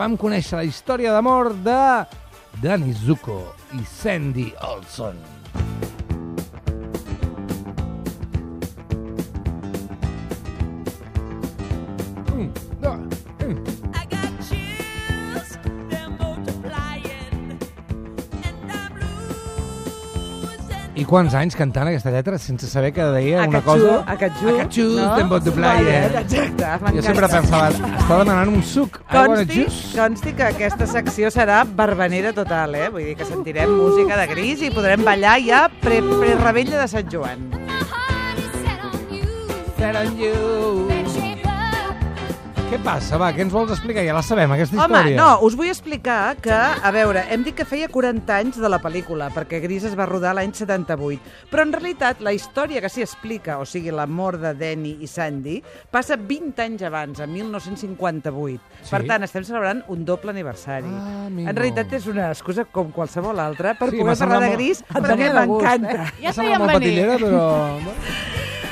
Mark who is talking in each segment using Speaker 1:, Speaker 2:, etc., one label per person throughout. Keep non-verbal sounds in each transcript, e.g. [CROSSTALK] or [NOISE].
Speaker 1: Vam conèixer la història d'amor de Danny Zuko i Sandy Olson. Un, dos, un.
Speaker 2: I got chills, they're multiplying, and I'm losing.
Speaker 1: I quants anys cantant aquesta lletra sense saber que deia una
Speaker 3: Acatxú,
Speaker 1: cosa...
Speaker 3: acatxú,
Speaker 1: Acatxú,
Speaker 3: no?
Speaker 1: no? de
Speaker 3: Vale,
Speaker 1: playa.
Speaker 3: exacte,
Speaker 1: eh? Jo
Speaker 3: m'encanta.
Speaker 1: sempre pensava, està demanant un suc. I want a
Speaker 3: Consti,
Speaker 1: juice.
Speaker 3: consti que aquesta secció serà barbanera total, eh? Vull dir que sentirem música de gris i podrem ballar ja pre, pre rebella de Sant Joan.
Speaker 2: My heart is set on you.
Speaker 1: Set on you.
Speaker 2: Better shape up.
Speaker 1: Què passa, va? Què ens vols explicar? Ja la sabem, aquesta
Speaker 3: Home,
Speaker 1: història.
Speaker 3: no, us vull explicar que, a veure, hem dit que feia 40 anys de la pel·lícula, perquè Gris es va rodar l'any 78, però en realitat la història que s'hi explica, o sigui, la mort de Danny i Sandy, passa 20 anys abans, a 1958.
Speaker 1: Sí.
Speaker 3: Per tant, estem celebrant un doble aniversari.
Speaker 1: Ah, amigo.
Speaker 3: en realitat és una excusa com qualsevol altra per
Speaker 1: Sí, m'ha
Speaker 3: poder
Speaker 1: semblat
Speaker 3: parlar de
Speaker 1: molt-
Speaker 3: Gris,
Speaker 1: em
Speaker 3: perquè
Speaker 1: sembla de gust, eh?
Speaker 3: m'encanta.
Speaker 1: Ja sabíem venir. Patillera, però...
Speaker 3: [LAUGHS]
Speaker 1: bueno,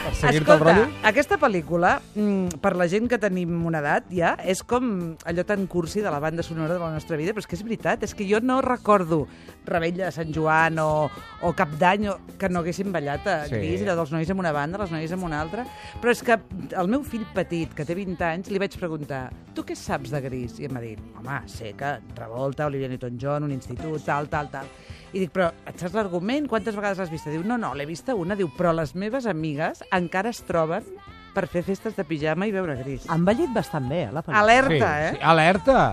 Speaker 1: Per seguir-te el
Speaker 3: Escolta,
Speaker 1: rotllo.
Speaker 3: aquesta pel·lícula, mm, per la gent que tenim una edat ja, és com allò tan cursi de la banda sonora de la nostra vida, però és que és veritat, és que jo no recordo Rebella de Sant Joan o, o Cap d'Any o- que no haguéssim ballat a
Speaker 1: Sí.
Speaker 3: sí. gris, allò dels nois amb una banda, les noies amb una altra, però és que el meu fill petit, que té 20 anys, li vaig preguntar, tu què saps de gris? I em va dir, home, sé que Travolta, Olivia Newton-John, un institut, tal, tal, tal. I dic, però et saps l'argument? Quantes vegades l'has vista? Diu, no, no, l'he vista una. Diu, però les meves amigues encara es troben per fer festes de pijama i veure gris.
Speaker 4: Han ballit bastant bé, eh, la pel·lícula.
Speaker 3: Alerta,
Speaker 1: sí,
Speaker 3: eh?
Speaker 1: Sí, alerta!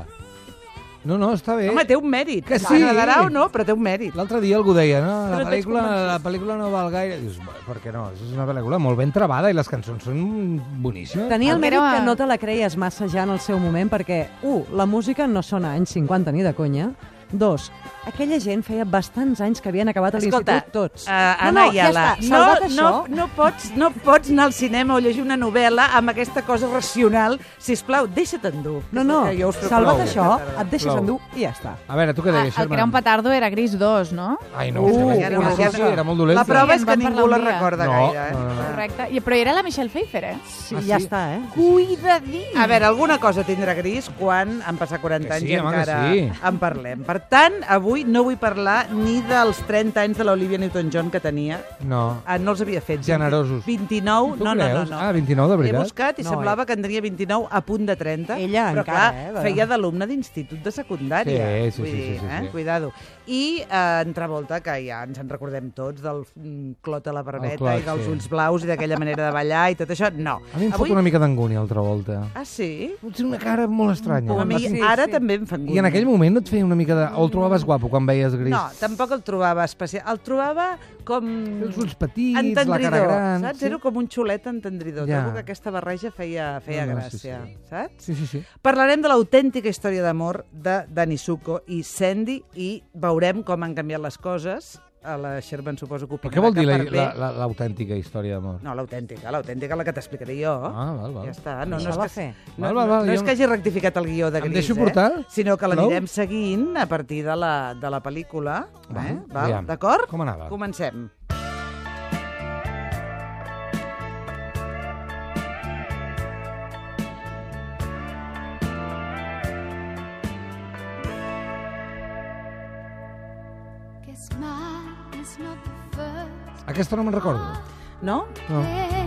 Speaker 1: No, no, està bé.
Speaker 3: Home, té un mèrit.
Speaker 1: Que sí.
Speaker 3: Agradarà o no, però té un mèrit.
Speaker 1: L'altre dia algú deia, no, la
Speaker 3: Però t'haig
Speaker 1: pel·lícula,
Speaker 3: convençut.
Speaker 1: la pel·lícula no val gaire. Dius, "Bé, per què no? És una pel·lícula molt ben travada i les cançons són boníssimes.
Speaker 4: Tenia el
Speaker 5: Però-
Speaker 4: mèrit que no te la creies massa ja en el seu moment perquè, u, la música no sona anys 50 ni de conya, Dos, aquella gent feia bastants anys que havien acabat a
Speaker 3: Escolta,
Speaker 4: l'institut tots.
Speaker 3: Uh, Anna
Speaker 4: no, no, ja
Speaker 3: Ayala,
Speaker 4: està, salvat
Speaker 3: no,
Speaker 4: això.
Speaker 3: no, no, pots, no pots anar al cinema o llegir una novel·la amb aquesta cosa racional. Si us plau, deixa't endur.
Speaker 4: no, no,
Speaker 3: Que Eh, jo us proposaré
Speaker 4: salvat
Speaker 1: Plou.
Speaker 4: això,
Speaker 3: aquesta tarda.
Speaker 4: et deixes
Speaker 1: Plou.
Speaker 4: endur i ja està.
Speaker 1: A veure, tu què
Speaker 5: Ah,
Speaker 1: deies,
Speaker 5: el que era un petardo era Gris 2, no?
Speaker 1: Ai, no, ho sé,
Speaker 3: Uh,
Speaker 1: vaig
Speaker 3: ja no
Speaker 1: veure,
Speaker 3: sé.
Speaker 1: sí, era molt dolenta.
Speaker 3: La prova
Speaker 5: Sí,
Speaker 3: és
Speaker 5: en
Speaker 3: que
Speaker 5: vam
Speaker 3: ningú la
Speaker 5: parlar un dia.
Speaker 3: recorda
Speaker 1: No,
Speaker 3: gaire. Eh?
Speaker 1: no, no, no.
Speaker 5: Correcte. I, però era la Michelle Pfeiffer, eh?
Speaker 4: Sí,
Speaker 1: Ah,
Speaker 4: ja
Speaker 1: sí?
Speaker 4: està, eh?
Speaker 5: Cuidadí!
Speaker 3: A veure, alguna cosa tindrà gris quan han passat 40
Speaker 1: Que
Speaker 3: anys
Speaker 1: sí,
Speaker 3: i
Speaker 1: home, que
Speaker 3: encara
Speaker 1: sí.
Speaker 3: en parlem. Per tant, avui no vull parlar ni dels 30 anys de l'Olivia Newton-John que tenia.
Speaker 1: No.
Speaker 3: Ah, no els havia fet.
Speaker 1: Generosos.
Speaker 3: 29,
Speaker 1: Tu
Speaker 3: Uh, no, no, no,
Speaker 1: creus?
Speaker 3: no.
Speaker 1: Ah, 29 de veritat?
Speaker 3: He buscat i
Speaker 4: No, eh.
Speaker 3: semblava que en tenia 29 a punt de 30.
Speaker 4: Ella
Speaker 3: però
Speaker 4: encara,
Speaker 3: clar,
Speaker 4: eh, de-
Speaker 3: feia d'alumne d'institut de secundària.
Speaker 1: Sí, sí,
Speaker 3: vull
Speaker 1: sí,
Speaker 3: dir,
Speaker 1: sí, sí,
Speaker 3: eh?
Speaker 1: sí.
Speaker 3: Cuidado. I eh, en Travolta, que ja ens en recordem tots, del mm, clot a la barbeta
Speaker 1: clot,
Speaker 3: i dels
Speaker 1: sí.
Speaker 3: ulls blaus i d'aquella manera de ballar i tot això, no.
Speaker 1: A mi em fot una mica d'angúnia altra volta.
Speaker 3: Ah, sí?
Speaker 1: Potser una cara molt estranya.
Speaker 3: A mi
Speaker 4: Ah, sí,
Speaker 3: ara
Speaker 4: sí.
Speaker 3: també em fan
Speaker 1: I en aquell moment no et feia una mica de... O el trobaves guapo quan veies gris?
Speaker 3: No, tampoc el trobava especial. El trobava com...
Speaker 1: Els ulls petits, la cara
Speaker 3: Entendridor,
Speaker 1: gran...
Speaker 3: saps?
Speaker 1: sí.
Speaker 3: Era com un xulet entendridor.
Speaker 1: Ja.
Speaker 3: Ja. Trobo que aquesta barreja feia, feia
Speaker 1: No, no, sí,
Speaker 3: gràcia,
Speaker 1: sí.
Speaker 3: saps?
Speaker 1: Sí, sí, sí.
Speaker 3: Parlarem de l'autèntica història d'amor de Dani Suco i Sandy i veurem com han canviat les coses. A la Sherman suposo que
Speaker 1: Però
Speaker 3: opinarà
Speaker 1: què vol dir
Speaker 3: que
Speaker 1: la-
Speaker 3: per bé...
Speaker 1: la- la- l'autèntica història d'amor?
Speaker 3: No, l'autèntica, l'autèntica, la que t'explicaré jo.
Speaker 1: Ah, val, val.
Speaker 3: Ja està. No, no,
Speaker 4: Això
Speaker 3: és
Speaker 4: va
Speaker 3: que,
Speaker 4: fer.
Speaker 3: no,
Speaker 1: Val, val, val,
Speaker 3: no, no
Speaker 1: jo-
Speaker 3: és que hagi rectificat el guió de
Speaker 1: Em
Speaker 3: Gris,
Speaker 1: deixo
Speaker 3: eh?
Speaker 1: portar?
Speaker 3: sinó que
Speaker 1: Plou?
Speaker 3: l'anirem seguint a partir de la, de la pel·lícula. eh?
Speaker 1: Val,
Speaker 3: Val?
Speaker 1: aviam.
Speaker 3: D'acord?
Speaker 1: Com anava?
Speaker 3: Comencem.
Speaker 2: Guess mine is not the first
Speaker 1: Aquesta no me'n recordo.
Speaker 3: No?
Speaker 1: No.
Speaker 2: day.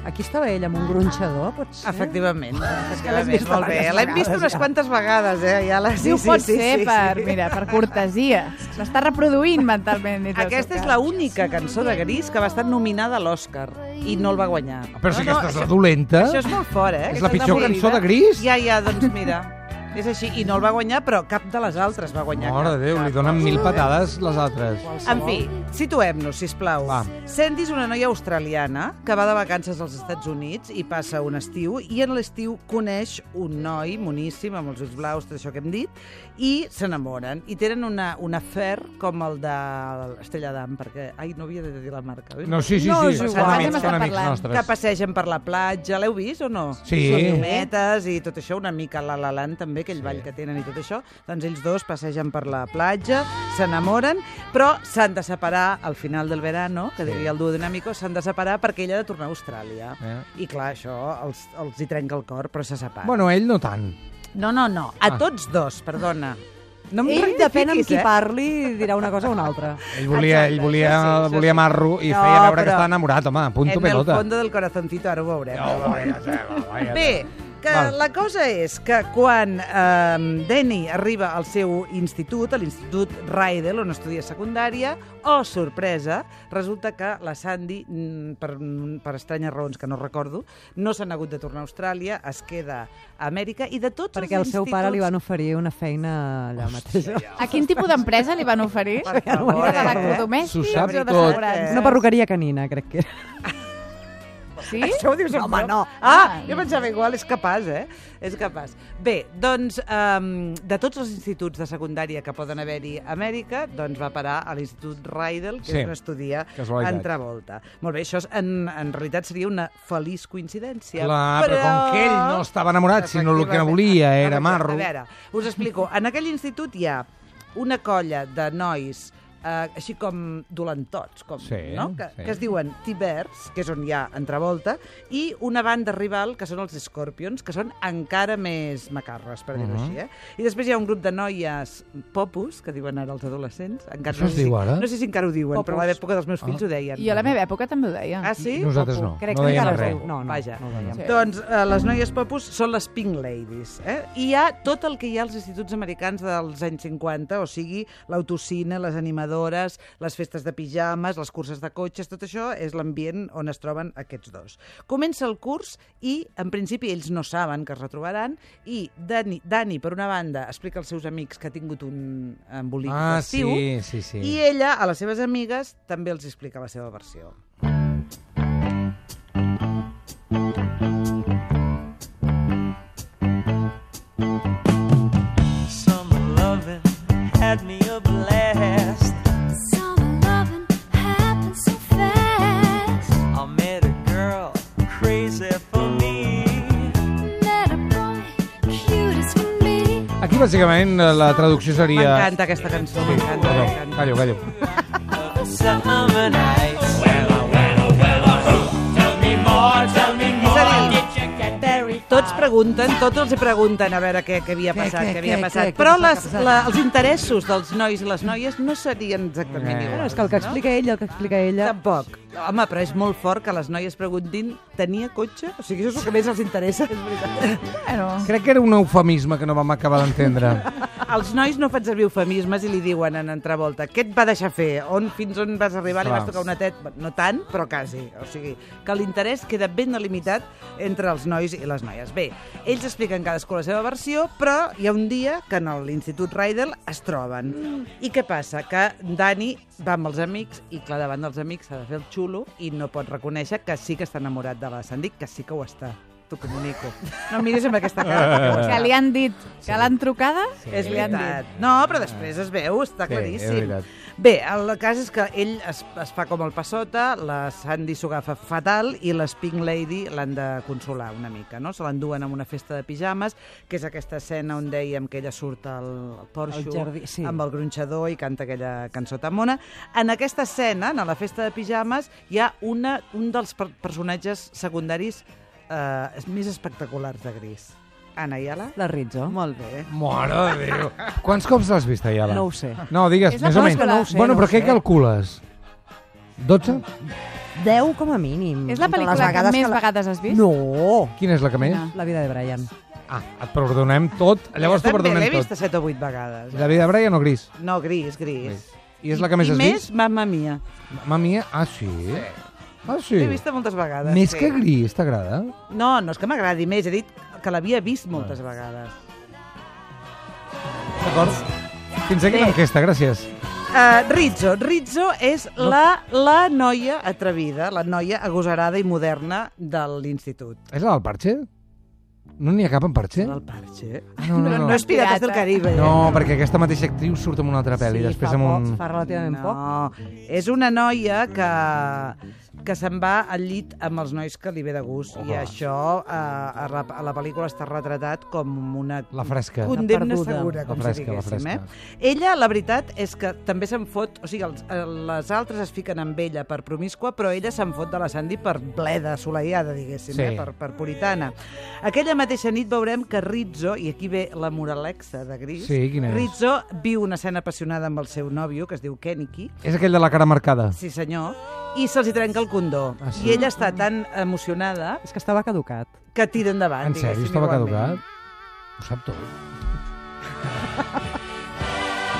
Speaker 4: Aquí estava ell amb un gronxador, potser?
Speaker 3: Efectivament. És
Speaker 4: que Eh? l'has vist
Speaker 3: molt bé. eh?
Speaker 4: diverses
Speaker 3: L'hem vist
Speaker 4: vegades,
Speaker 3: unes
Speaker 4: ja.
Speaker 3: quantes vegades, eh? Ja la...
Speaker 5: Sí, ho pot ser per, mira, per cortesia. L'està reproduint mentalment. dins del
Speaker 3: Aquesta
Speaker 5: seu
Speaker 3: és
Speaker 5: cap.
Speaker 3: l'única cançó de Gris que va estar nominada a l'Oscar i no el va guanyar.
Speaker 1: Ah, Però si
Speaker 3: no, no,
Speaker 1: aquesta és la
Speaker 3: això,
Speaker 1: dolenta...
Speaker 3: això és molt fort, eh?
Speaker 1: És
Speaker 3: Aquesta
Speaker 1: la pitjor
Speaker 3: molt
Speaker 1: cançó de
Speaker 3: dolida.
Speaker 1: Gris?
Speaker 3: Ja, ja, doncs mira. És així. I no el va guanyar, però cap de les altres va guanyar.
Speaker 1: Mare de
Speaker 3: cap,
Speaker 1: Déu,
Speaker 3: cap.
Speaker 1: li donen mil patades les altres.
Speaker 3: En fi, situem-nos, si plau.
Speaker 1: Va.
Speaker 3: Sandy és una noia australiana que va de vacances als Estats Units i passa un estiu, i en l'estiu coneix un noi moníssim, amb els ulls blaus, tot això que hem dit, i s'enamoren. I tenen una, un afer com el de l'Estrella d'Am, perquè... Ai, no havia de dir la marca, oi?
Speaker 1: No, sí, sí,
Speaker 5: No,
Speaker 1: sí.
Speaker 5: és
Speaker 1: Són
Speaker 5: igual.
Speaker 1: amics,
Speaker 5: Hem
Speaker 1: són
Speaker 5: estat
Speaker 1: amics
Speaker 5: parlant.
Speaker 3: que
Speaker 1: nostres.
Speaker 3: passegen per la platja. L'heu vist o no?
Speaker 1: Sí.
Speaker 3: Les llumetes i tot això, una mica la la Land també, aquell ball que tenen i tot això. Doncs ells dos passegen per la platja, s'enamoren, però s'han de separar al final del verano, que diria el duo dinàmico, s'han de separar perquè ella ha de tornar a Austràlia.
Speaker 1: Eh.
Speaker 3: I clar, això els, els hi trenca el cor, però se separen.
Speaker 1: Bueno, ell no tant.
Speaker 3: No, no, no. A
Speaker 1: Ah.
Speaker 3: tots dos, perdona. No em
Speaker 4: Ell, depèn amb
Speaker 3: rectifiquis,
Speaker 4: qui
Speaker 3: eh?
Speaker 4: parli, dirà una cosa o una altra.
Speaker 1: Ell volia, ell
Speaker 3: Exacte,
Speaker 1: volia,
Speaker 3: això sí, això
Speaker 1: volia
Speaker 3: sí.
Speaker 1: marro i
Speaker 3: No,
Speaker 1: feia veure que
Speaker 3: però-
Speaker 1: estava enamorat, home, punto
Speaker 3: en el
Speaker 1: pelota.
Speaker 3: fondo del corazoncito, ara ho veurem.
Speaker 1: Oh, vaya tela, vaya
Speaker 3: Bé,
Speaker 1: tela.
Speaker 3: que
Speaker 1: Val.
Speaker 3: la cosa és que quan eh, Danny arriba al seu institut, a l'Institut Raidel, on estudia secundària, oh, sorpresa, resulta que la Sandy, mm, per, per estranyes raons que no recordo, no s'ha hagut de tornar a Austràlia, es queda a Amèrica, i de tots
Speaker 4: Perquè al
Speaker 3: els
Speaker 4: seu
Speaker 3: instituts...
Speaker 4: pare li van oferir una feina allà mateix.
Speaker 5: A quin tipus d'empresa li van oferir?
Speaker 3: Per favor,
Speaker 5: Era
Speaker 3: eh?
Speaker 1: S'ho
Speaker 5: d'electrodomèstics
Speaker 1: sap
Speaker 5: o
Speaker 1: tot.
Speaker 5: d'assegurances?
Speaker 4: Una perruqueria canina, crec que era.
Speaker 5: Sí?
Speaker 3: Això ho dius en
Speaker 4: Home,
Speaker 3: broma?
Speaker 4: no.
Speaker 3: Ah,
Speaker 5: Ah.
Speaker 3: jo pensava igual, és capaç, eh? És capaç. Bé, doncs, um, de tots els instituts de secundària que poden haver-hi a Amèrica, doncs va parar a l'Institut Raidel, que
Speaker 1: Sí.
Speaker 3: és on estudia
Speaker 1: Casualitat.
Speaker 3: en Travolta. Molt bé, això és, en, en realitat seria una feliç coincidència.
Speaker 1: Clar, però com que ell no estava enamorat, sinó el que volia
Speaker 3: Efectivament. Ah,
Speaker 1: era marro.
Speaker 3: A veure, us explico. En aquell institut hi ha una colla de nois eh, així com dolentots, com,
Speaker 1: Sí,
Speaker 3: no? que,
Speaker 1: sí.
Speaker 3: que es diuen Tibers, que és on hi ha entrevolta, i una banda rival, que són els Scorpions, que són encara més macarres, per dir-ho
Speaker 1: Mhm.
Speaker 3: així. Eh? I després hi ha un grup de noies popus, que diuen ara els adolescents. Encara
Speaker 1: Això es
Speaker 3: sé
Speaker 1: diu
Speaker 3: si,
Speaker 1: ara?
Speaker 3: No sé si encara ho diuen,
Speaker 4: Popus.
Speaker 3: però a l'època dels meus fills
Speaker 1: Ah.
Speaker 3: ho deien.
Speaker 5: Jo a la meva època també ho deia.
Speaker 3: Ah, sí?
Speaker 1: Nosaltres
Speaker 3: Popu.
Speaker 1: no.
Speaker 4: Crec
Speaker 1: no
Speaker 4: que
Speaker 1: deien
Speaker 4: encara es
Speaker 1: res.
Speaker 4: diu. No, no.
Speaker 3: Vaja.
Speaker 4: no ho dèiem.
Speaker 5: Sí.
Speaker 3: Doncs eh, les noies popus són les Pink Ladies. Eh? I hi ha tot el que hi ha als instituts americans dels anys 50, o sigui, l'autocine, les animadores, les festes de pijames, les curses de cotxes, tot això és l'ambient on es troben aquests dos. Comença el curs i, en principi, ells no saben que es retrobaran i Dani, Dani per una banda, explica als seus amics que ha tingut un embolic
Speaker 1: Ah, sí,
Speaker 3: festiu
Speaker 1: sí, sí.
Speaker 3: i ella, a les seves amigues, també els explica la seva versió.
Speaker 6: Summer loving had me a blast.
Speaker 2: Summer loving happens so fast.
Speaker 6: I met a girl crazy for me.
Speaker 2: Met a boy cute as can be.
Speaker 1: Aquí, bàsicament, la traducció seria...
Speaker 3: M'encanta aquesta cançó, m'encanta,
Speaker 1: Perdó,
Speaker 3: m'encanta.
Speaker 1: callo, callo.
Speaker 6: Summer nights.
Speaker 3: És a dir, tots pregunten, tots els hi pregunten a veure què, què havia
Speaker 4: Què,
Speaker 3: passat,
Speaker 4: què,
Speaker 3: què, havia
Speaker 4: què,
Speaker 3: passat.
Speaker 4: què, què
Speaker 3: Però
Speaker 4: passava,
Speaker 3: les,
Speaker 4: què passava?
Speaker 3: la, els interessos dels nois i les noies no serien exactament
Speaker 1: Eh.
Speaker 4: Bueno,
Speaker 3: iguals.
Speaker 4: és que el que explica ell i el que explica
Speaker 3: No?
Speaker 4: ella...
Speaker 3: Tampoc. Home, però és molt fort que les noies preguntin tenia cotxe? O sigui, això és el que més els interessa. És veritat.
Speaker 5: Bueno,
Speaker 1: Crec que era un eufemisme que no vam acabar
Speaker 3: [LAUGHS]
Speaker 1: d'entendre.
Speaker 3: Els nois no fan servir eufemismes i li diuen en entrevolta què et va deixar fer? On, fins on vas arribar? Li
Speaker 1: Clar.
Speaker 3: vas tocar una tet? No tant, però quasi. O sigui, que l'interès queda ben delimitat entre els nois i les noies. Bé, ells expliquen cadascú la seva versió, però hi ha un dia que en l'Institut Raidel es troben. I què passa? Que Dani va amb els amics i, clar, davant dels amics s'ha de fer el xulo i no pot reconèixer que sí que està enamorat de la Sandy, que sí que ho està. T'ho comunico. No em miris amb aquesta cara. perquè ho
Speaker 1: Eh.
Speaker 3: està.
Speaker 5: que li han dit que l'han trucada
Speaker 1: Sí.
Speaker 5: i
Speaker 3: És
Speaker 5: li han
Speaker 3: veritat.
Speaker 5: dit.
Speaker 3: No, però després es veu, està
Speaker 1: Sí, és
Speaker 3: claríssim.
Speaker 1: veritat.
Speaker 3: Bé, el cas és que ell es, es fa com el passota, la Sandy s'ho agafa fatal i les Pink Lady l'han de consolar una mica, no? Se l'enduen a una festa de pijames, que és aquesta escena on dèiem que ella surt al porxo
Speaker 4: Al jardí, sí.
Speaker 3: amb el gronxador i canta aquella cançó tan mona. En aquesta escena, en la festa de pijames, hi ha una, un dels per personatges secundaris eh, més espectaculars de Gris. Ana Iala?
Speaker 4: La Rizzo.
Speaker 3: Molt bé.
Speaker 1: Mare de Déu. Quants cops l'has vist, Ayala?
Speaker 4: No ho sé.
Speaker 1: No, digues,
Speaker 5: És la
Speaker 1: més o
Speaker 5: cosa
Speaker 1: menys.
Speaker 5: que no ho sé,
Speaker 1: bueno,
Speaker 4: no
Speaker 1: però
Speaker 4: ho
Speaker 1: què
Speaker 4: sé.
Speaker 1: calcules? 12?
Speaker 4: 10 com a mínim.
Speaker 1: Mm.
Speaker 5: És la
Speaker 4: Entre les
Speaker 5: pel·lícula que
Speaker 4: vegades
Speaker 5: més
Speaker 4: la-
Speaker 5: vegades has vist?
Speaker 4: No!
Speaker 1: Quina és la que més?
Speaker 5: Quina?
Speaker 4: La vida de Brian.
Speaker 1: Ah, et perdonem tot. Llavors t'ho
Speaker 3: També
Speaker 1: perdonem
Speaker 3: L'he vista
Speaker 1: tot.
Speaker 3: set o vuit vegades. eh?
Speaker 1: La vida de Brian o Gris?
Speaker 3: No, gris, gris.
Speaker 1: I és la que més
Speaker 3: I
Speaker 1: has
Speaker 3: més,
Speaker 1: vist?
Speaker 3: mamma mia.
Speaker 1: Mamma mia, ah, sí? Ah, sí?
Speaker 3: L'he vista moltes vegades.
Speaker 1: Més
Speaker 3: sí.
Speaker 1: que Gris, t'agrada?
Speaker 3: No, no és que m'agradi més, he dit que l'havia vist moltes vegades.
Speaker 1: D'acord. Fins aquí l'enquesta, gràcies.
Speaker 3: Uh, Rizzo. Rizzo és la, la noia atrevida, la noia agosarada i moderna de l'institut.
Speaker 1: És la del parxe? No n'hi ha cap en parxe?
Speaker 3: Del parxe.
Speaker 1: No, no,
Speaker 3: No,
Speaker 1: Eh? no.
Speaker 3: no és Pirates del Caribe. eh?
Speaker 1: No, perquè aquesta mateixa actriu surt en una altra pel·li,
Speaker 4: sí,
Speaker 1: després
Speaker 4: fa
Speaker 1: amb un...
Speaker 4: Poc, fa relativament poc.
Speaker 3: No, és una noia que, que se'n va al llit amb els nois que li ve de gust. I
Speaker 1: Oh.
Speaker 3: això eh, a, la, a la pel·lícula està retratat com una
Speaker 1: La fresca.
Speaker 3: condemna
Speaker 4: perduda.
Speaker 3: segura, com
Speaker 1: La fresca,
Speaker 3: si
Speaker 1: la
Speaker 3: diguéssim.
Speaker 1: fresca.
Speaker 3: Eh? Ella, la veritat, és que també se'n fot... O sigui, els, eh, les altres es fiquen amb ella per promiscua, però ella se'n fot de la Sandy per bleda, assolellada, diguéssim,
Speaker 1: Sí.
Speaker 3: eh? per, per puritana. Aquella mateixa nit veurem que Rizzo, i aquí ve la moralexa de Gris,
Speaker 1: Sí, quina és?
Speaker 3: Rizzo viu una escena apassionada amb el seu nòvio, que es diu Keniki,
Speaker 1: És aquell de la cara marcada.
Speaker 3: Sí, senyor. I se'ls hi trenca el condó.
Speaker 1: Ah, sí?
Speaker 3: I ella està tan emocionada
Speaker 4: És que estava caducat.
Speaker 3: que tira endavant.
Speaker 1: En sèrio,
Speaker 3: diguéssim,
Speaker 1: estava
Speaker 3: igualment.
Speaker 1: caducat? Ho sap tot.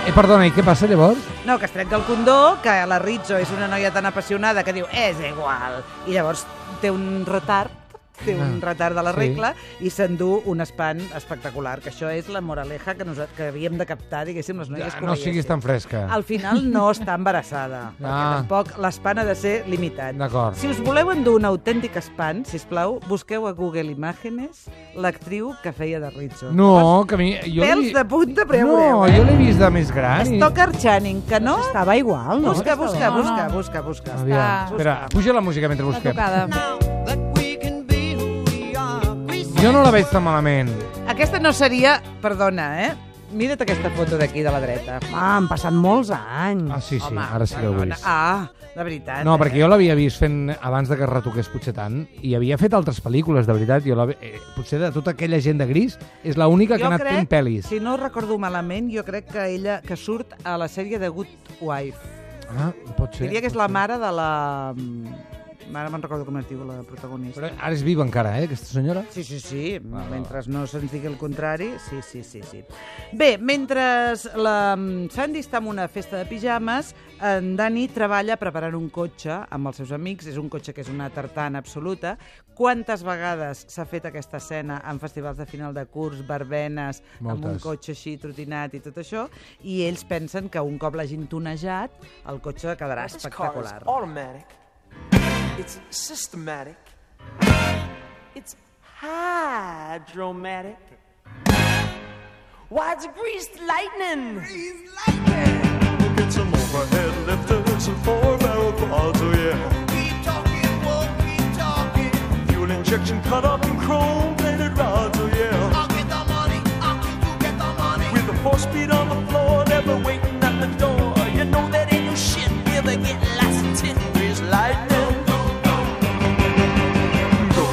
Speaker 1: Eh, perdona, i què passa llavors?
Speaker 3: No, que es trenca el condó, que la Rizzo és una noia tan apassionada que diu és igual. I llavors té un retard té un
Speaker 1: Ah,
Speaker 3: retard de la
Speaker 1: sí.
Speaker 3: regla i s'endú un espant espectacular, que això és la moraleja que, nosaltres, que havíem de captar, diguéssim, les noies que ho
Speaker 1: No siguis
Speaker 3: veiessin.
Speaker 1: tan fresca.
Speaker 3: Al final no està embarassada, perquè
Speaker 1: Ah.
Speaker 3: tampoc l'espan ha de ser limitat.
Speaker 1: D'acord.
Speaker 3: Si us voleu endur un autèntic espant, si plau, busqueu a Google Imàgenes l'actriu que feia de Rizzo.
Speaker 1: No, que a mi... Jo
Speaker 3: Pèls
Speaker 1: l'he-
Speaker 3: de punta, però ja
Speaker 1: No,
Speaker 3: veureu, eh?
Speaker 1: jo l'he vist de més gran. i-
Speaker 3: Stoker Channing, que no?
Speaker 4: Estava igual, no?
Speaker 3: Busca, busca,
Speaker 5: No, no.
Speaker 3: busca, busca, busca.
Speaker 1: Aviam,
Speaker 5: Està-
Speaker 1: espera, puja la música mentre
Speaker 5: Està
Speaker 1: busquem.
Speaker 5: tocada.
Speaker 6: Now that we can be who we are, we
Speaker 1: Jo no la veig tan malament.
Speaker 3: Aquesta no seria... Perdona, eh? Mira't aquesta foto d'aquí de la dreta.
Speaker 4: Ah, han passat molts anys.
Speaker 1: Ah, sí, sí,
Speaker 3: Home,
Speaker 1: ara sí que ho he
Speaker 3: perdona.
Speaker 1: vist.
Speaker 3: Ah, de veritat.
Speaker 1: No,
Speaker 3: eh?
Speaker 1: perquè jo l'havia vist fent abans de que es retoqués potser tant i havia fet altres pel·lícules, de veritat. Jo l'havia- eh, potser de tota aquella gent de gris és l'única que ha anat fent pel·lis.
Speaker 3: si no recordo malament, jo crec que ella que surt a la sèrie de Good Wife.
Speaker 1: Ah, pot ser.
Speaker 3: Diria que és la mare de la... mm, Ara me'n recordo com es diu la protagonista.
Speaker 1: Però ara és viva encara, eh, aquesta senyora?
Speaker 3: Sí, sí, sí. Mentre no se'ns digui el contrari, sí, sí, sí. sí. Bé, mentre la mm, Sandy està en una festa de pijames, en Dani treballa preparant un cotxe amb els seus amics. És un cotxe que és una tartana absoluta. Quantes vegades s'ha fet aquesta escena en festivals de final de curs, barbenes, amb un
Speaker 1: Moltes.
Speaker 3: cotxe així trotinat i tot això, i ells pensen que un cop l'hagin tonejat, el cotxe quedarà
Speaker 6: This car is
Speaker 3: espectacular.
Speaker 6: automatic. It's systematic. It's hydromatic. Why, it's greased lightning. Greased lightning.
Speaker 7: We'll get some overhead lifters and four barrel quads, oh yeah.
Speaker 6: Keep talking, won't keep talking.
Speaker 7: Fuel injection cut up in chrome plated rods, oh yeah.
Speaker 6: I'll get the money. I'll get you get the money.
Speaker 7: With a four speed on the floor, never waiting at the door. You know that ain't no shit,
Speaker 6: Never get lots of tin. Greased
Speaker 7: lightning.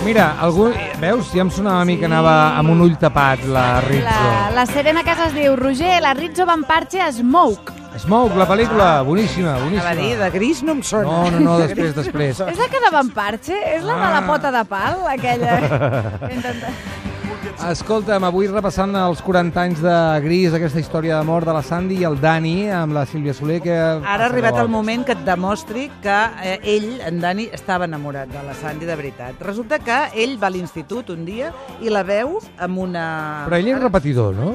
Speaker 1: Mira, algú... Veus? Ja em sonava a mi que anava amb un ull tapat, la
Speaker 5: La,
Speaker 1: Rizzo.
Speaker 5: la Serena Casa es diu Roger, la Rizzo va en parche a Smoke.
Speaker 1: Smoke, la pel·lícula, boníssima,
Speaker 3: Anava a dir,
Speaker 1: boníssima.
Speaker 3: de gris no em sona.
Speaker 1: No, no, no, després,
Speaker 3: [LAUGHS]
Speaker 1: després.
Speaker 5: És la que anava en parche? És la de la
Speaker 1: Ah.
Speaker 5: pota de pal,
Speaker 1: [LAUGHS]
Speaker 5: aquella?
Speaker 1: Escolta'm, avui repassant els 40 anys de Gris, aquesta història d'amor de la Sandy i el Dani, amb la Sílvia Soler, que...
Speaker 3: Ara ha arribat el moment que et demostri que eh, ell, en Dani, estava enamorat de la Sandy de veritat. Resulta que ell va a l'institut un dia i la veu amb una...
Speaker 1: Però ell és repetidor, no?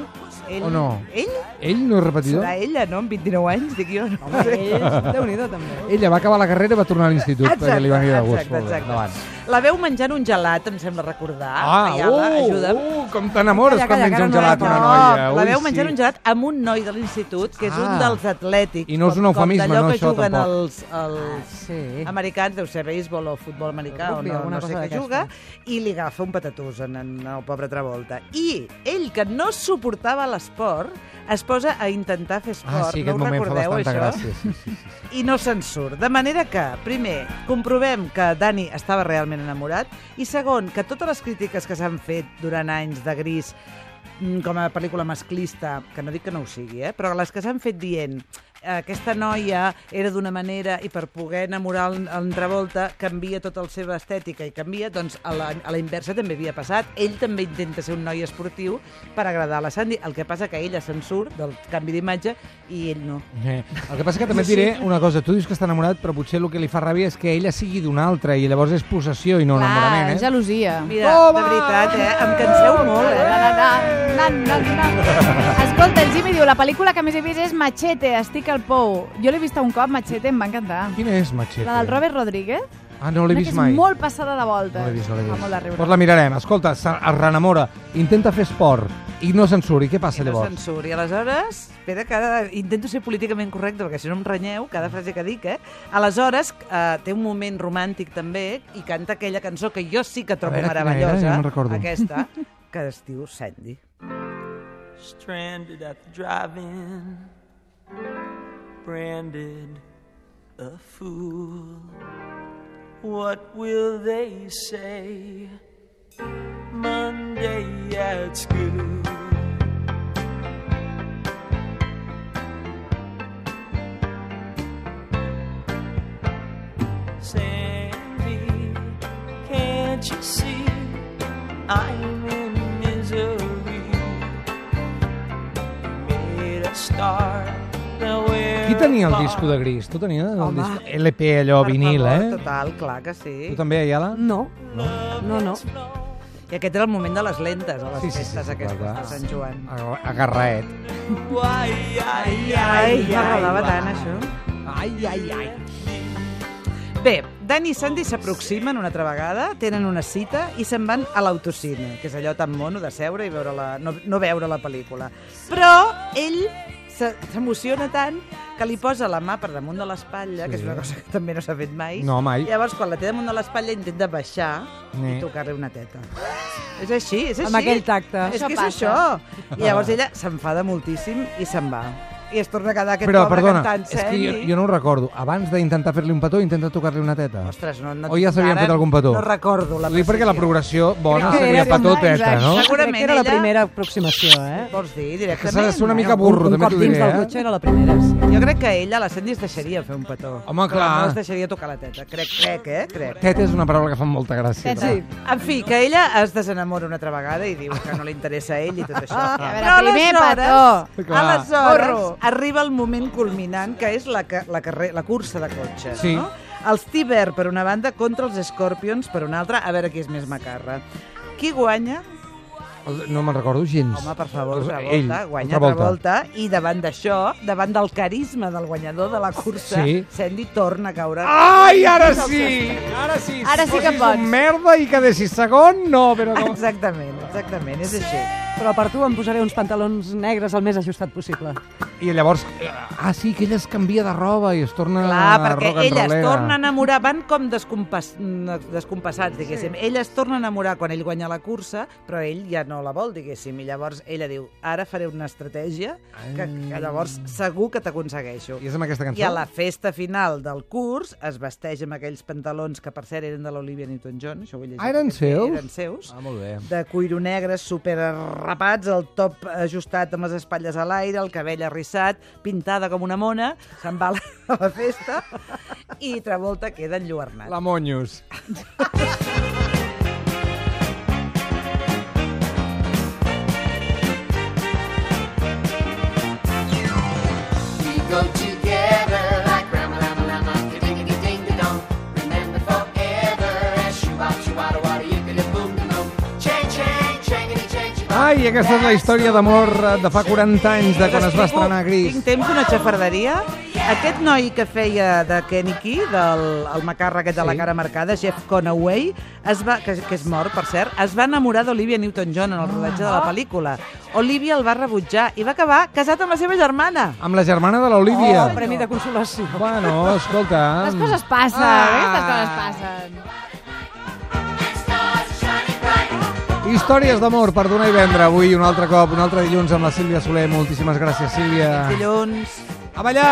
Speaker 3: Ell,
Speaker 1: o no?
Speaker 3: Ell?
Speaker 1: Ell no és repetidor?
Speaker 3: Serà ella, no? Amb 29 anys, dic jo. No?
Speaker 4: Déu-n'hi-do, també.
Speaker 1: Ella va acabar la carrera i va tornar a l'institut, perquè li va venir de gust.
Speaker 3: exacte,
Speaker 1: Molt bé,
Speaker 3: exacte.
Speaker 1: Endavant.
Speaker 3: La veu menjant un gelat, em sembla recordar.
Speaker 1: Ah,
Speaker 3: Ayala,
Speaker 1: uh,
Speaker 3: ajuda'm.
Speaker 1: uh, com t'enamores
Speaker 4: Calla,
Speaker 1: quan
Speaker 4: calla,
Speaker 1: menja
Speaker 4: que
Speaker 1: un
Speaker 4: ara
Speaker 1: gelat
Speaker 4: no
Speaker 1: una
Speaker 4: era
Speaker 1: noia.
Speaker 3: la
Speaker 1: Ui,
Speaker 3: veu menjant
Speaker 1: sí.
Speaker 3: un gelat amb un noi de l'institut, que és
Speaker 1: Ah.
Speaker 3: un dels atlètics.
Speaker 1: I no és un
Speaker 3: com- com
Speaker 1: eufemisme,
Speaker 3: d'allò
Speaker 1: no,
Speaker 3: que
Speaker 1: això,
Speaker 3: juguen
Speaker 1: tampoc.
Speaker 3: els, els,
Speaker 4: Sí.
Speaker 3: americans, deu ser béisbol o futbol americà
Speaker 4: Rugby,
Speaker 3: o no,
Speaker 4: alguna
Speaker 3: no sé
Speaker 4: cosa
Speaker 3: què
Speaker 4: d'aquestes.
Speaker 3: juga, i li agafa un patatús en, en el pobre Travolta. I ell, que no suportava l'esport, es posa a intentar fer
Speaker 1: Ah,
Speaker 3: esport,
Speaker 1: sí,
Speaker 3: no
Speaker 1: aquest
Speaker 3: ho
Speaker 1: moment fa
Speaker 3: recordeu,
Speaker 1: bastanta
Speaker 3: això?
Speaker 1: gràcia. Sí, sí, sí.
Speaker 3: I no se'n surt. De manera que, primer, comprovem que Dani estava realment enamorat, i segon, que totes les crítiques que s'han fet durant anys de Gris mm, com a pel·lícula masclista, que no dic que no ho sigui, eh? però les que s'han fet dient eh, aquesta noia era d'una manera i per poder enamorar el, el Travolta canvia tota la seva estètica i canvia, doncs a la, a la inversa també havia passat. Ell també intenta ser un noi esportiu per agradar a la Sandy, el que passa que ella se'n surt del canvi d'imatge i ell no.
Speaker 1: Eh, El que passa que també et diré una cosa, tu dius que està enamorat, però potser el que li fa ràbia és que ella sigui d'una altra i llavors és possessió i no
Speaker 5: Clar,
Speaker 1: enamorament, eh?
Speaker 5: gelosia.
Speaker 3: Mira, de veritat, eh? Em canseu molt,
Speaker 5: Na,
Speaker 3: eh?
Speaker 5: na, na, na, na, na. Escolta, el Jimmy diu, la pel·lícula que més he vist és Machete, estic al pou. Jo l'he vist un cop, Machete, em va encantar.
Speaker 1: Quina és, Machete?
Speaker 5: La del Robert Rodríguez?
Speaker 1: Ah, no l'he
Speaker 5: Una
Speaker 1: vist
Speaker 5: que
Speaker 1: mai.
Speaker 5: És molt passada de volta.
Speaker 1: No l'he vist, no l'he
Speaker 5: Fa molt de
Speaker 1: vist.
Speaker 5: riure.
Speaker 1: Doncs la mirarem. Escolta, se- es reenamora, intenta fer esport, I no se'n surt. I què passa
Speaker 3: I no
Speaker 1: llavors?
Speaker 3: censuri. Aleshores, espera, cada... intento ser políticament correcte perquè si no em renyeu cada frase que dic, eh? Aleshores, eh, té un moment romàntic també i canta aquella cançó que jo sí que trobo
Speaker 1: veure, quina era?
Speaker 3: meravellosa,
Speaker 1: Ja no recordo.
Speaker 3: aquesta, que es diu Sandy.
Speaker 6: Stranded at the drive in, branded a fool. What will they say Monday at school? Sandy, can't you see I'm in misery? made a star.
Speaker 1: Qui tenia el disco de gris? Tu tenies el
Speaker 4: Home.
Speaker 1: disco? LP allò, [LAUGHS] vinil,
Speaker 3: favor,
Speaker 1: eh?
Speaker 3: Total, clar que sí.
Speaker 1: Tu també, Ayala?
Speaker 4: No, no, no.
Speaker 3: I aquest era el moment de les lentes, a les
Speaker 1: Sí, sí, sí,
Speaker 3: festes
Speaker 1: sí,
Speaker 3: aquestes
Speaker 1: clar, clar.
Speaker 3: de Sant Joan.
Speaker 1: Aga- Agarraet.
Speaker 6: Ai, ai,
Speaker 3: Ai, m'agradava tant, això.
Speaker 1: Ai, ai, ai.
Speaker 3: Bé, Dan i Sandy s'aproximen una altra vegada, tenen una cita i se'n van a l'autocine, que és allò tan mono de seure i veure la, no, no veure la pel·lícula. Però ell se- s'emociona tant que li posa la mà per damunt de l'espatlla, sí. que és una cosa que també no s'ha fet mai.
Speaker 1: No, mai. Eh.
Speaker 3: I llavors, quan la té damunt de l'espatlla, intenta baixar
Speaker 1: Ni.
Speaker 3: i tocar-li una teta. És així, és així.
Speaker 4: Amb aquell tacte.
Speaker 3: És
Speaker 5: Això
Speaker 3: que és
Speaker 5: passa.
Speaker 3: això. I llavors ella s'enfada moltíssim i se'n va. I es torna a quedar aquest
Speaker 1: Però,
Speaker 3: pobre
Speaker 1: perdona,
Speaker 3: cantant
Speaker 1: és que jo,
Speaker 3: Sandy.
Speaker 1: jo no ho recordo. Abans d'intentar fer-li un petó, intenta tocar-li una teta.
Speaker 3: Ostres, no, no
Speaker 1: O ja s'havien
Speaker 3: ara
Speaker 1: fet algun petó?
Speaker 3: No recordo la
Speaker 1: Ho dic perquè la progressió bona
Speaker 3: Crec que
Speaker 1: seria
Speaker 5: era
Speaker 1: petó
Speaker 5: semblant,
Speaker 1: teta,
Speaker 5: exacte.
Speaker 1: no?
Speaker 4: Crec
Speaker 3: Segurament
Speaker 4: que era la
Speaker 3: ella-
Speaker 4: primera aproximació, eh?
Speaker 3: Vols dir,
Speaker 1: Que
Speaker 3: directament?
Speaker 1: s'ha de ser una mica
Speaker 4: Bueno,
Speaker 1: burro,
Speaker 4: un, un
Speaker 1: també
Speaker 4: cop
Speaker 1: t'ho
Speaker 4: dins
Speaker 1: diré,
Speaker 4: del
Speaker 1: eh?
Speaker 4: cotxe era la primera, sí.
Speaker 3: Jo crec que ella, la Sandy, es deixaria fer un petó.
Speaker 1: Home,
Speaker 3: Però
Speaker 1: clar.
Speaker 3: no es deixaria tocar la teta. Crec, crec, eh? Crec.
Speaker 1: Teta és una paraula que fa molta gràcia.
Speaker 5: Teta. Sí.
Speaker 3: En fi, que ella es desenamora una altra vegada i diu que no li interessa a ell i tot això.
Speaker 5: [LAUGHS] A veure, primer petó.
Speaker 1: Clar.
Speaker 3: aleshores
Speaker 5: Porro.
Speaker 3: arriba el moment culminant, que és la, ca- la, carrer, la cursa de cotxes.
Speaker 1: Sí.
Speaker 3: No? Els Tiber, per una banda, contra els Scorpions, per una altra. A veure qui és més macarra. Qui guanya?
Speaker 1: No me'n recordo gens.
Speaker 3: Home, per favor,
Speaker 1: Ell,
Speaker 3: Travolta, guanya
Speaker 1: Travolta.
Speaker 3: Travolta. I davant d'això, davant del carisma del guanyador de la cursa,
Speaker 1: Sí. Ah!
Speaker 3: Sandy torna a caure.
Speaker 1: Ai, ara sí! Ara sí!
Speaker 5: Ara sí que
Speaker 1: Posis
Speaker 5: pots.
Speaker 1: un merda i quedessis segon? No, però com...
Speaker 3: Exactament, exactament, és així.
Speaker 4: Però per tu em posaré uns pantalons negres el més ajustat possible.
Speaker 1: I llavors... eh, Ah, sí, que ella es canvia de roba i es torna
Speaker 3: Clar, perquè
Speaker 1: Ah, rock and
Speaker 3: ella es
Speaker 1: rollera.
Speaker 3: torna a enamorar, van com descompas, descompassats, diguéssim. Ella es torna a enamorar quan ell guanya la cursa, però ell ja no la vol, diguéssim. I llavors ella diu, ara faré una estratègia que, que llavors segur que t'aconsegueixo.
Speaker 1: I és amb aquesta cançó?
Speaker 3: I a la festa final del curs es vesteix amb aquells pantalons que, per cert, eren de l'Olivia Newton-John. Això ho he llegit.
Speaker 1: Ah, eren
Speaker 3: aquest dia,
Speaker 1: seus?
Speaker 3: Eren seus.
Speaker 1: Ah, molt bé.
Speaker 3: de cuiro negre, superrapats, el top ajustat amb les espatlles a l'aire, el cabell arrissat, pintada com una mona, se'n va a la, a la festa i Travolta queda enlluernat.
Speaker 1: La Monyos.
Speaker 8: We go together like Rama Lama Lama, Kadingity Ding the Dong. Remember forever as Shubata Shubata Wada Yippity Boom the Boom. Chang Chang Changity Chang
Speaker 1: Ai, aquesta és la història d'amor eh, de fa 40 anys, de quan es va
Speaker 3: T'explico,
Speaker 1: estrenar Gris.
Speaker 3: Tinc temps d'una xafarderia. Aquest noi que feia de Kenny Key, del el macarra aquest de la
Speaker 1: Sí.
Speaker 3: cara marcada, Jeff Conaway, es va, que, que és mort, per cert, es va enamorar d'Olivia Newton-John en el rodatge de la pel·lícula. Olivia el va rebutjar i va acabar casat amb la seva germana.
Speaker 1: Amb la germana de l'Olivia.
Speaker 4: Oh, premi de consolació.
Speaker 1: Bueno, escolta...
Speaker 5: Les coses passen,
Speaker 1: Ah.
Speaker 5: aquestes coses passen.
Speaker 1: Històries d'amor per donar i vendre. Avui un altre cop, un altre dilluns amb la Sílvia Soler. Moltíssimes gràcies, Sílvia.
Speaker 3: Dilluns...
Speaker 1: A ballar!